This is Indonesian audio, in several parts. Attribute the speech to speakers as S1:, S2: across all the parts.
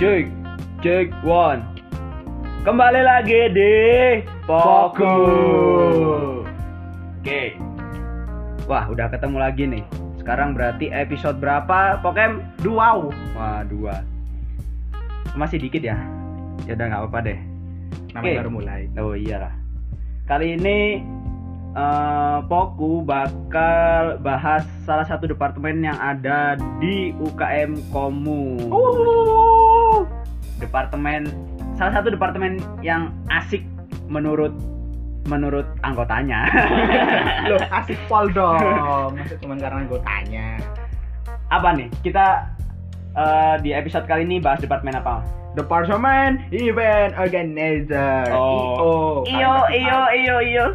S1: Cek, cek one. Kembali lagi di Poku. Oke. Wah, udah ketemu lagi nih. Sekarang berarti episode berapa? Pokem?
S2: Duau.
S1: Wah, dua. Masih dikit ya. Ya udah nggak apa-apa deh.
S2: Namanya
S1: Oke.
S2: baru mulai.
S1: Oh iyalah. Kali ini eh, Poku bakal bahas salah satu departemen yang ada di UKM Komu.
S2: Oh.
S1: Departemen salah satu departemen yang asik menurut menurut anggotanya.
S2: Loh, asik pol dong. Maksud cuma karena gue tanya.
S1: apa nih? Kita eh, di episode kali ini bahas departemen apa?
S2: Departemen Event Organizer.
S1: Oh.
S2: IO. Kalian
S3: Iyo,
S2: pasti tahu.
S3: iyo, iyo, iyo.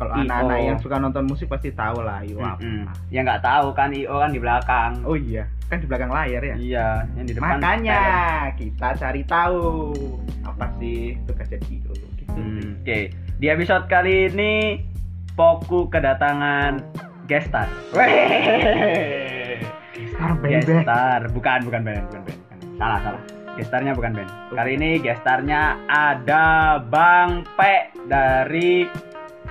S2: Kalau
S1: IO.
S2: anak-anak yang suka nonton musik pasti tahu lah IO apa.
S1: Mm-mm. Ya nggak tahu kan IO kan di belakang.
S2: Oh iya, kan di belakang layar ya.
S1: Iya, yang di depan.
S2: Makanya
S1: talent.
S2: kita cari tahu apa sih tugasnya IO. Gitu.
S1: Hmm, Oke, di episode kali ini Poku kedatangan Gestar.
S2: Sekarang pendek.
S1: Gestar, bukan bukan band, bukan band. Salah, salah. Gestarnya bukan band. Kali ini gestarnya ada Bang P dari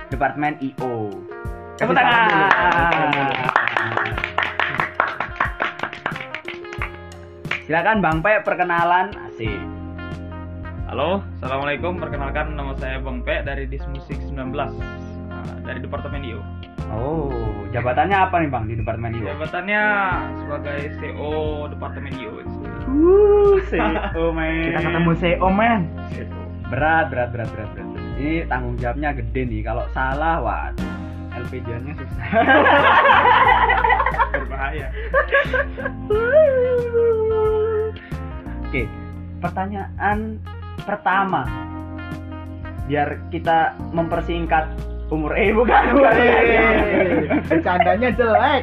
S1: Departemen IO. Tepuk
S2: Kasih tangan dulu, kasih tangan
S1: tangan.
S2: dulu.
S1: Silakan Bang P perkenalan. Asik.
S3: Halo, assalamualaikum. Perkenalkan nama saya Bang P dari Dismusik 19 uh, dari Departemen IO.
S1: Oh, jabatannya apa nih Bang di Departemen IO?
S3: Jabatannya sebagai CO Departemen IO.
S1: Uh, CEO men.
S2: Kita ketemu CEO men.
S1: Berat, berat, berat, berat, berat. Ini tanggung jawabnya gede nih. Kalau salah, waduh, LPJ-nya susah.
S3: Berbahaya.
S1: Oke, pertanyaan pertama. Biar kita mempersingkat umur eh bukan bukan. iya.
S2: Wey, Bercandanya jelek.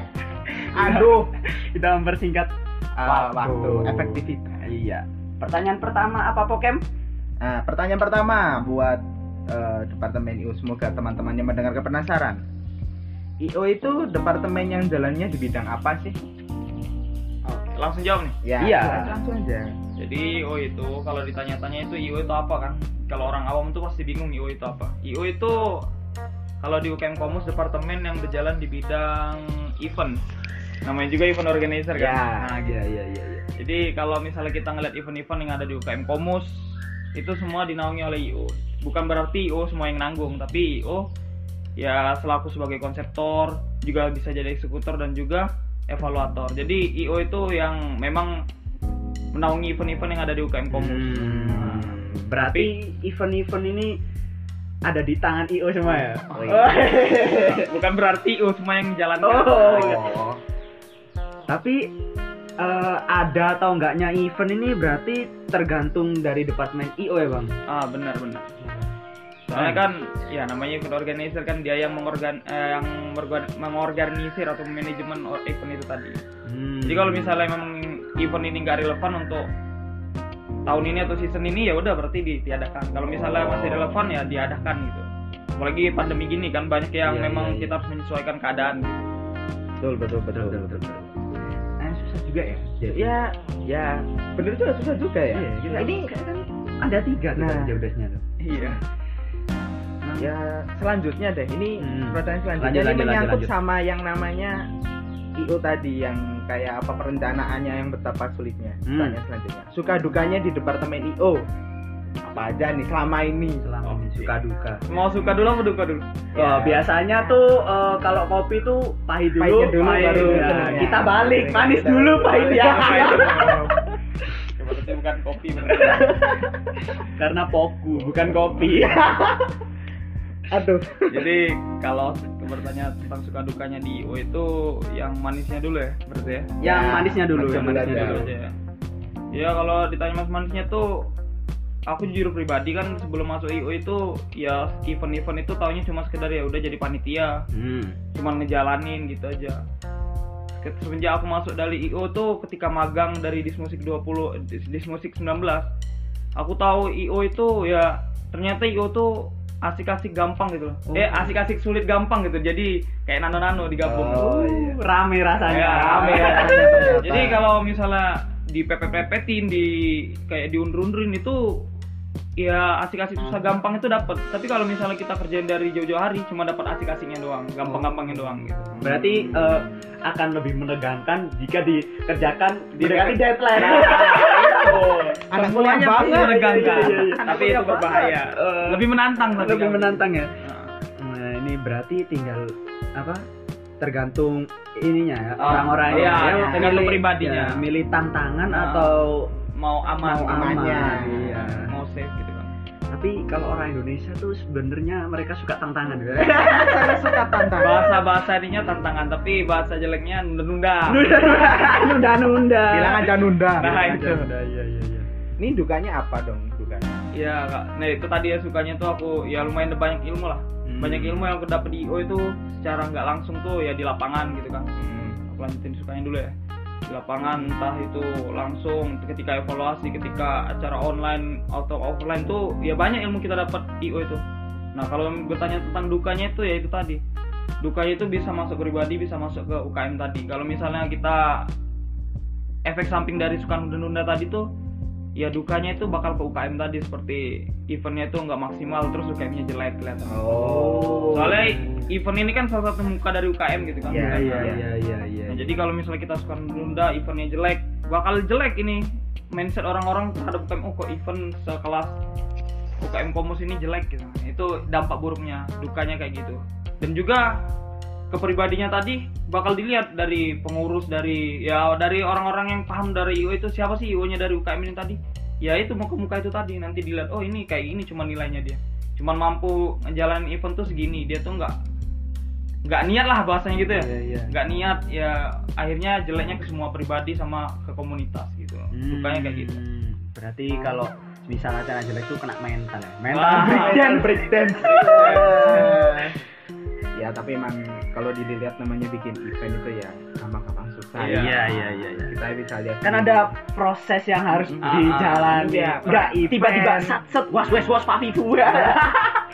S2: Aduh.
S1: kita mempersingkat
S2: Ah, waktu. Efektivitas.
S1: Iya. Pertanyaan pertama apa Pokem?
S2: Nah, pertanyaan pertama buat eh, departemen IO semoga teman-temannya mendengarkan penasaran. IO itu departemen yang jalannya di bidang apa sih?
S3: Langsung jawab nih.
S2: Ya,
S1: Iya.
S2: jelas langsung aja.
S3: Jadi IO itu kalau ditanya-tanya itu IO itu apa kan? Kalau orang awam itu pasti bingung IO itu apa. IO itu kalau di UKM Komus departemen yang berjalan di bidang event. Namanya juga event organizer kan.
S2: Ya.
S3: Nah,
S1: iya iya iya. iya.
S3: Jadi kalau misalnya kita ngeliat event-event yang ada di UKM Komus itu semua dinaungi oleh IO. Bukan berarti IO semua yang nanggung, tapi IO ya selaku sebagai konseptor juga bisa jadi eksekutor dan juga evaluator. Jadi IO itu yang memang menaungi event-event yang ada di UKM Komus.
S1: Hmm, Berarti event-event ini ada di tangan IO semua ya?
S2: Oh, iya.
S3: Bukan berarti IO semua yang menjalankan.
S1: Oh.
S3: Nah,
S2: Oh.
S1: Tapi eh, ada atau enggaknya event ini berarti tergantung dari departemen IO ya bang?
S3: Ah benar-benar.
S1: Iya. Hmm.
S3: Soalnya kan ya namanya event organizer kan dia yang mengorgan eh, yang mergan- mengorganisir atau manajemen or- event itu tadi.
S1: Hmm.
S3: Jadi kalau misalnya memang event ini nggak relevan untuk tahun ini atau season ini ya udah berarti ditiadakan. Kalau misalnya
S1: Oh.
S3: masih relevan ya diadakan gitu. Apalagi pandemi gini kan banyak
S1: Iya,
S3: yang
S1: iya,
S3: memang
S1: iya.
S3: kita harus menyesuaikan keadaan.
S2: Betul, betul, betul, betul, betul.
S1: Eh, susah juga ya. Jadi
S2: Ya, ya, bener juga susah juga ya.
S1: Iya, juga.
S2: Ini
S1: ada tiga tuh
S2: Nah.
S1: nah. jawabnya tuh.
S3: Iya.
S2: ya selanjutnya deh. Ini
S1: Hmm.
S2: pertanyaan
S1: Lanjut,
S2: selanjutnya ini
S1: lanjut, lanjut,
S2: menyangkut
S1: lanjut.
S2: sama yang namanya IO tadi yang kayak apa perencanaannya yang betapa sulitnya.
S1: Hmm.
S2: Pertanyaan selanjutnya. Suka dukanya di departemen IO. Apa aja nih selama ini?
S1: Selama
S3: Oh,
S1: ini
S3: iya.
S1: suka duka.
S3: Mau suka dulu apa duka dulu?
S2: Ya.
S1: Oh, biasanya tuh eh, kalau kopi tuh pahit dulu,
S2: Pahitnya dulu, baru
S1: ya.
S2: senangnya.
S1: kita balik manis
S2: Kita
S1: dulu
S2: balik.
S1: pahit
S2: Iya.
S1: ya.
S3: Apa itu? Coba itu bukan kopi bener.
S1: Karena poku bukan kopi.
S2: Aduh.
S3: Jadi kalau bertanya tentang suka dukanya di IO itu yang manisnya dulu ya berarti ya.
S1: yang
S2: Ya,
S1: manisnya dulu,
S2: macam
S1: yang manisnya
S2: belajar.
S1: dulu.
S3: aja ya. Ya kalau ditanya mas manisnya tuh aku jujur pribadi kan sebelum masuk IO itu ya event-event itu taunya cuma sekedar ya udah jadi panitia,
S1: Hmm.
S3: cuma ngejalanin gitu aja. Ke- Semenjak aku masuk dari IO tuh ketika magang dari Dismusik 20 Dis- Dismusik 19 aku tahu IO itu ya ternyata IO tuh asik-asik gampang gitu loh.
S1: Oh.
S3: Eh asik-asik sulit gampang gitu. Jadi
S1: Oh,
S3: kayak nano-nano digabung.
S1: Uh, iya. rame rasanya.
S3: Ya, rame
S2: ya.
S3: Jadi kalau misalnya di pepet-pepetin di kayak diundur-undurin itu ya asik-asik susah
S4: Hmm.
S3: gampang itu dapat tapi kalau misalnya kita kerjain dari jauh-jauh hari cuma dapat asik-asiknya doang gampang-gampangnya doang gitu
S4: Berarti eh, akan lebih menegangkan jika dikerjakan
S1: Mendekati
S4: mendekati deadline. Nah,
S2: Anak kuliah
S3: semuanya pasti
S2: banget.
S3: menegangkan
S4: Iya, iya, iya.
S3: tapi itu berbahaya
S4: Eh,
S3: lebih menantang tapi
S4: lebih
S3: kalau-
S4: menantang ya.
S3: Nah.
S4: Nah, ini berarti tinggal apa? Tergantung ininya ya,
S3: Oh,
S4: orang-orangnya.
S3: iya,
S4: ya,
S3: iya. Tergantung
S4: milih-
S3: pribadinya.
S4: ya, milih tantangan
S3: Ah.
S4: atau
S3: mau aman
S4: mau
S2: aman. amannya,
S4: Iya.
S3: mau safe gitu kan
S4: Tapi kalau orang Indonesia tuh sebenarnya mereka suka tantangan. ya.
S2: Saya suka tantangan.
S3: bahasa bahasa ininya tantangan tapi bahasa jeleknya nunda
S4: Nunda-nunda.
S2: Bilang aja nunda.
S3: Nah,
S4: Bilang
S3: itu.
S4: aja nunda, Iya, iya, iya.
S2: Ini dukanya apa dong dukanya?
S3: Iya kak, nah itu tadi ya sukanya tuh aku ya lumayan banyak ilmu lah
S2: Hmm.
S3: Banyak ilmu yang aku dapat di IO itu secara nggak langsung tuh ya di lapangan gitu kan
S2: Hmm.
S3: Aku lanjutin sukanya dulu ya Di lapangan entah itu langsung ketika evaluasi, ketika acara online atau offline tuh ya banyak ilmu kita dapat IO itu Nah kalau bertanya tentang dukanya itu ya itu tadi Dukanya itu bisa masuk ke pribadi, bisa masuk ke UKM tadi Kalau misalnya kita efek samping dari suka nunda-nunda tadi tuh ya dukanya itu bakal ke UKM tadi seperti eventnya itu nggak maksimal terus UKM-nya jelek kelihatan
S4: Oh.
S3: soalnya
S2: Iya,
S3: event ini kan salah satu muka dari UKM gitu kan
S4: Iya,
S3: bukan?
S4: iya,
S3: Nah,
S4: iya, iya, iya.
S3: jadi kalau misalnya kita suka nunda eventnya jelek bakal jelek ini mindset orang-orang terhadap UKM oh kok event sekelas UKM Komus ini jelek gitu itu dampak buruknya dukanya kayak gitu dan juga kepribadinya tadi bakal dilihat dari pengurus dari ya dari orang-orang yang paham dari IO itu siapa sih IO-nya dari UKM ini tadi ya itu muka muka itu tadi nanti dilihat oh ini kayak ini cuma nilainya dia cuman mampu ngejalanin event tuh segini dia tuh nggak nggak niat lah bahasanya gitu ya
S4: Iya, iya.
S3: nggak niat ya akhirnya jeleknya ke semua pribadi sama ke komunitas gitu dukanya kayak gitu
S1: Hmm, Berarti kalau misal acara jelek tuh kena mental ya. Mental.
S3: Wah.
S1: breakdown.
S2: breakdance. ya tapi emang kalau dilihat namanya bikin event itu ya gampang-gampang susah. ya.
S3: Iya.
S1: Iya, iya, iya, iya.
S2: Kita bisa lihat.
S4: kan ada proses yang harus
S3: Ah, Hmm.
S4: dijalani
S2: iya.
S4: nggak
S2: Pra-
S4: tiba-tiba
S2: event.
S4: sat set was was was papi fu
S3: Iya.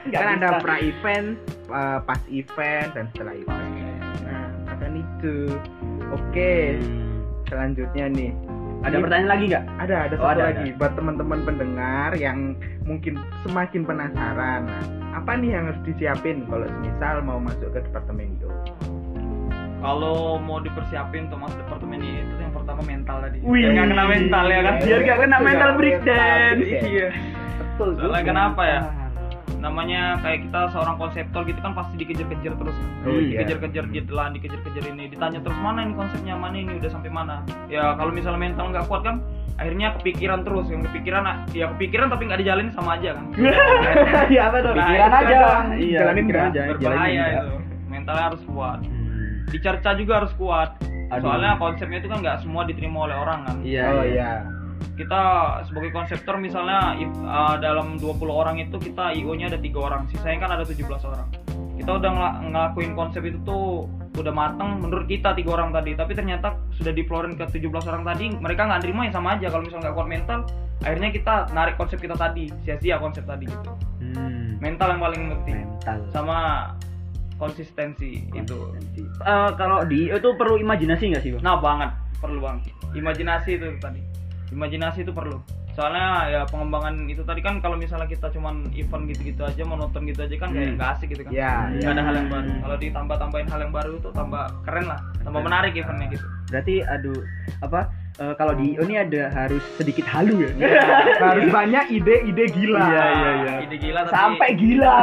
S4: nggak
S2: kan ada
S4: bisa.
S2: pra event, eh, pas event dan setelah event. Nah, akan itu. Oke, selanjutnya nih.
S1: Hmm. Ada
S3: Iya.
S1: pertanyaan lagi nggak?
S2: Ada ada
S1: Oh,
S2: satu
S1: ada,
S2: lagi buat teman-teman pendengar yang mungkin semakin penasaran. Nah, apa nih yang harus disiapin kalau misal mau masuk ke departemen itu?
S3: kalau mau dipersiapin untuk masuk departemen ini itu yang pertama mental tadi
S4: Wih.
S1: Eh,
S3: Biar nggak kena mental ya kan
S4: biar gak kena mental breakdown
S3: iya
S4: betul
S3: Soalnya kenapa ya? namanya kayak kita seorang konseptor gitu kan pasti dikejar-kejar terus kan.
S2: Oh, iya.
S3: dikejar-kejar deadline dikejar-kejar ini ditanya terus mana ini konsepnya mana ini udah sampai mana ya kalau misalnya mental nggak kuat kan akhirnya kepikiran terus yang kepikiran ya kepikiran tapi nggak dijalin sama aja kan
S4: ya apa tuh
S3: Pikiran aja,
S4: iya
S2: jalanin
S4: pikiran
S2: nggak?
S4: aja
S3: berbahaya
S4: jalanin nggak.
S3: itu mentalnya harus kuat
S1: Hmm.
S3: dicerca juga harus kuat
S4: Aduh.
S3: soalnya konsepnya itu kan nggak semua diterima oleh orang kan
S4: iya iya
S2: oh iya.
S3: kita sebagai konseptor misalnya if- uh, dalam 20 orang itu kita IO nya ada tiga orang sisanya kan ada 17 orang kita udah ngela- ngelakuin konsep itu tuh udah mateng menurut kita tiga orang tadi tapi ternyata sudah diplorin ke 17 orang tadi mereka nggak nerima ya sama aja kalau misalnya nggak kuat mental akhirnya kita narik konsep kita tadi sia-sia konsep tadi gitu
S1: Hmm,
S3: mental yang paling penting
S1: Mental.
S4: Iya.
S3: sama konsistensi, itu
S1: Eh, kalau di itu perlu imajinasi nggak sih bang?
S3: Nah banget perlu bang. Imajinasi itu tadi. Imajinasi itu perlu. Soalnya ya pengembangan itu tadi kan kalau misalnya kita cuman event gitu-gitu aja monoton gitu aja kan
S1: Hmm.
S3: kayak nggak asik gitu kan.
S2: Ya,
S3: Nggak
S2: ya.
S3: ada hal yang baru. Kalau ditambah-tambahin hal yang baru itu tambah keren lah, tambah menarik eventnya gitu.
S1: Berarti aduh apa? eh, kalau di IO ini ada harus sedikit halu ya.
S2: iya. Harus banyak ide-ide gila.
S4: Iya, iya, iya.
S3: Ah, Ide gila tapi
S4: sampai gila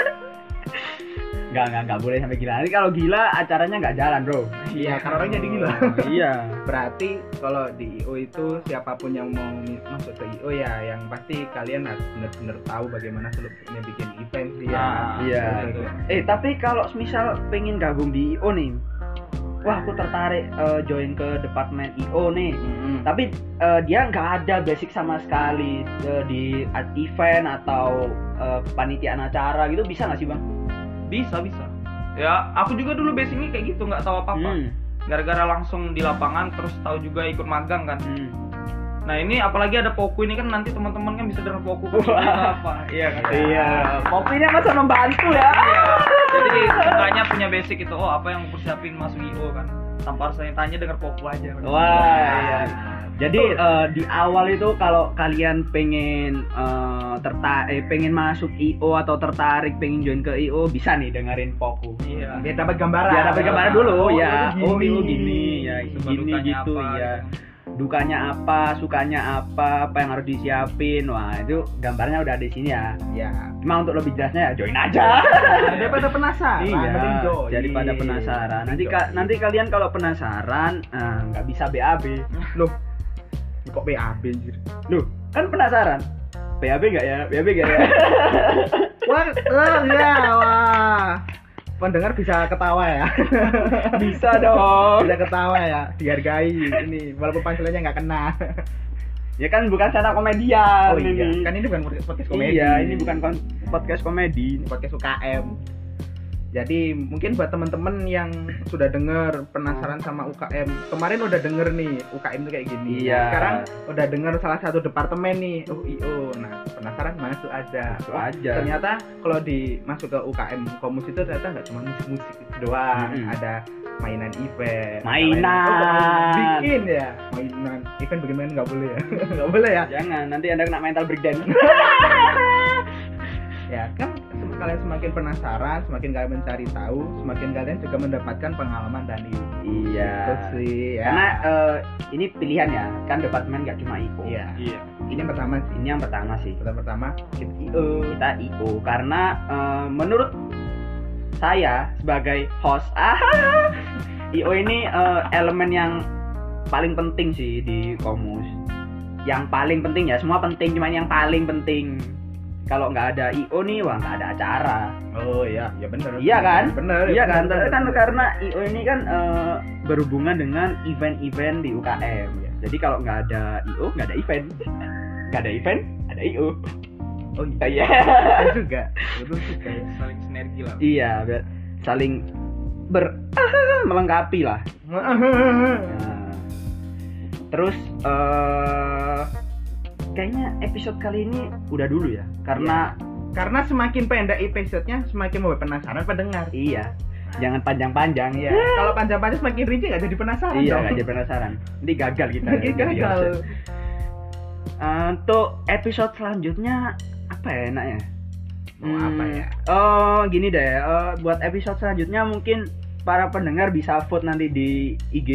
S1: Nggak nggak nggak boleh sampai gila. Nanti kalau gila acaranya nggak jalan bro.
S2: Iya, karena orang jadi gila.
S1: Oh, iya.
S2: Berarti kalau di IO itu siapapun yang mau mi- masuk ke IO ya yang pasti kalian harus benar-benar tahu bagaimana seluknya bikin event sih ya.
S3: Nah,
S1: Iya.
S3: itu.
S1: Eh tapi kalau misal pengen gabung di IO nih, wah aku tertarik eh, join ke departemen IO nih. Tapi eh, dia nggak ada basic sama sekali eh, di at- event atau eh, kepanitiaan acara gitu bisa nggak sih bang?
S3: bisa bisa. Ya, aku juga dulu basicnya kayak gitu nggak tahu apa-apa.
S1: Hmm,
S3: Gara-gara langsung di lapangan terus tahu juga ikut magang kan.
S1: hmm.
S3: Nah ini apalagi ada Poku ini kan nanti teman-teman kan bisa dengar Poku kan apa, iya kan?
S1: Iya, kopinya masa membantu ya.
S3: Jadi sukanya punya basic itu, oh apa yang aku siapin masuk IO kan? Tanpa harus tanya, tanya dengar Poku aja.
S1: Wah, iya. Jadi eh, di awal itu kalau kalian pengen eh, terta eh, pengen masuk IO atau tertarik pengen join ke IO bisa nih dengerin Poku.
S3: Iya.
S2: biar ah, dapat gambaran
S1: Biar dapat gambaran dulu
S2: Oh,
S1: ya.
S2: itu
S1: Oh,
S2: gini.
S1: IO gini ya,
S3: Suka
S1: gini
S3: dukanya
S1: gitu
S3: apa,
S1: ya.
S3: gitu.
S1: Dukanya apa, sukanya apa, apa yang harus disiapin. Wah, itu gambarnya udah di sini ya.
S2: ya
S1: Cuma untuk lebih jelasnya ya join aja.
S2: daripada penasaran mending
S1: Iya,
S2: join.
S1: daripada penasaran. Nanti
S2: Join.
S1: ka- nanti kalian kalau penasaran eh, nggak bisa BAB.
S2: loh kok BAB anjir
S1: Loh, kan penasaran. BAB nggak ya? BAB nggak ya?
S2: wah lah ya wah pendengar bisa ketawa ya
S1: bisa dong.
S2: bisa ketawa ya dihargai ini walaupun panggilannya nggak kena
S1: Ya kan bukan stand up komedian
S2: oh iya
S1: ini.
S2: kan ini bukan podcast podcast komedi
S1: Iya, ini bukan kon- podcast komedi.
S2: Ini podcast UKM jadi mungkin buat teman-teman yang sudah denger penasaran sama UKM kemarin udah denger nih UKM tuh kayak gini
S1: Iya.
S2: sekarang udah denger salah satu departemen nih oh IO nah penasaran masuk aja
S1: Masuk
S2: Wah,
S1: aja.
S2: ternyata kalau di masuk ke UKM komus itu ternyata nggak cuma musik musik doang
S1: Mm-mm.
S2: ada mainan event
S1: Mainan.
S2: Oh, mainan. bikin ya mainan event bikin mainan nggak boleh ya nggak boleh ya
S1: Jangan, nanti Anda kena mental breakdown.
S2: ya kan sem- kalian semakin penasaran semakin kalian mencari tahu semakin kalian juga mendapatkan pengalaman dan ilmu
S1: iya.
S2: Itu sih ya
S1: Karena eh, ini pilihan ya, kan departemen nggak cuma IO.
S2: Iya.
S3: Iya.
S2: ini yang pertama sih
S1: Ini yang pertama sih.
S2: pertama pertama kita
S1: E kita IO karena eh, menurut saya sebagai host ah IO ini eh, elemen yang paling penting sih di komus yang paling penting ya semua penting cuman yang paling penting kalau nggak ada IO nih wah nggak ada acara
S2: oh iya ya benar
S1: Iya kan?
S2: benar
S1: iya kan
S2: benar,
S1: Ter- kan
S2: benar.
S1: karena IO ini kan eh, berhubungan dengan event-event di UKM ya. jadi kalau nggak ada IO nggak ada event nggak ada event ada IO
S2: oh iya
S1: iya
S2: Betul juga betul juga ya.
S3: Saling sinergi lah.
S1: Iya, ber- saling ber melengkapi lah. Nah, Terus eh kayaknya episode kali ini udah dulu ya, karena
S2: karena semakin pendek episode-nya semakin membuat penasaran pendengar
S1: iya, jangan panjang-panjang
S2: iya
S1: ya.
S2: kalau panjang-panjang semakin rinci nggak jadi penasaran
S1: Iya,
S2: dong
S1: nggak jadi penasaran. Iya, Nanti gagal kita.
S2: Semakin gagal
S1: Eh, untuk episode selanjutnya apa ya enaknya?
S2: mau apa ya
S1: Oh gini deh, eh, buat episode selanjutnya mungkin para pendengar bisa vote nanti di IG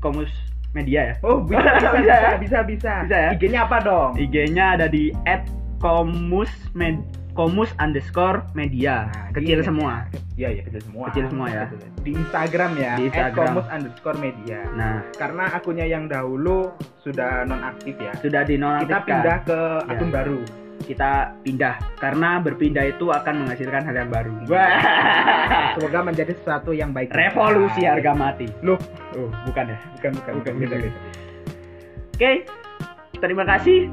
S1: Komus Media ya.
S2: oh bisa
S1: Bisa
S2: bisa
S1: ya?
S2: bisa bisa bisa,
S1: Bisa ya?
S2: IG-nya apa dong
S1: IG-nya ada di @komus_med komus underscore media
S2: Nah,
S1: kecil
S2: di-
S1: semua
S2: Iya ya kecil semua.
S1: Kecil semua ya.
S2: Di Instagram ya.
S1: Di Instagram.
S2: @komus underscore media.
S1: nah
S2: Karena akunnya yang dahulu sudah nonaktif ya.
S1: sudah
S2: Kita
S1: dinonaktifkan
S2: pindah ke
S1: Ya.
S2: akun baru.
S1: kita pindah karena berpindah itu akan menghasilkan hal yang baru
S2: Semoga menjadi sesuatu yang
S1: Iya.
S2: baik. Nah.
S1: revolusi harga mati
S2: Loh.
S1: oh, bukan ya
S2: Bukan bukan bukan
S1: Bukan,
S2: beda,
S1: bukan.
S2: beda.
S1: oke terima kasih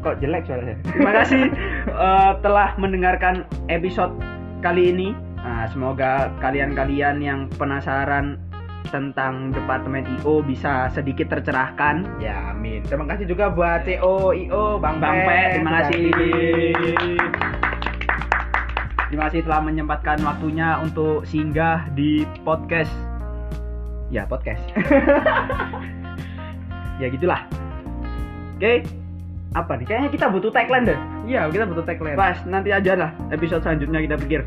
S1: kok jelek suaranya terima kasih eh, telah mendengarkan episode kali ini Nah, semoga kalian-kalian yang penasaran tentang departemen IO bisa sedikit tercerahkan
S2: Ya amin. Terima kasih juga buat CEO IO Bang,
S1: Bang Pe, terima kasih.
S2: kasih.
S1: Terima kasih telah menyempatkan waktunya untuk singgah di podcast. Ya, podcast. ya gitulah. Oke. Apa nih? Kayaknya kita butuh tagline deh.
S2: Iya, kita butuh tagline.
S1: Pas nanti aja lah episode selanjutnya kita pikir.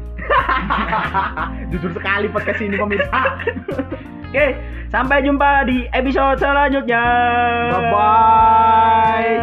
S2: Jujur sekali podcast ini pemirsa.
S1: Oke, sampai jumpa di episode selanjutnya.
S2: Bye bye.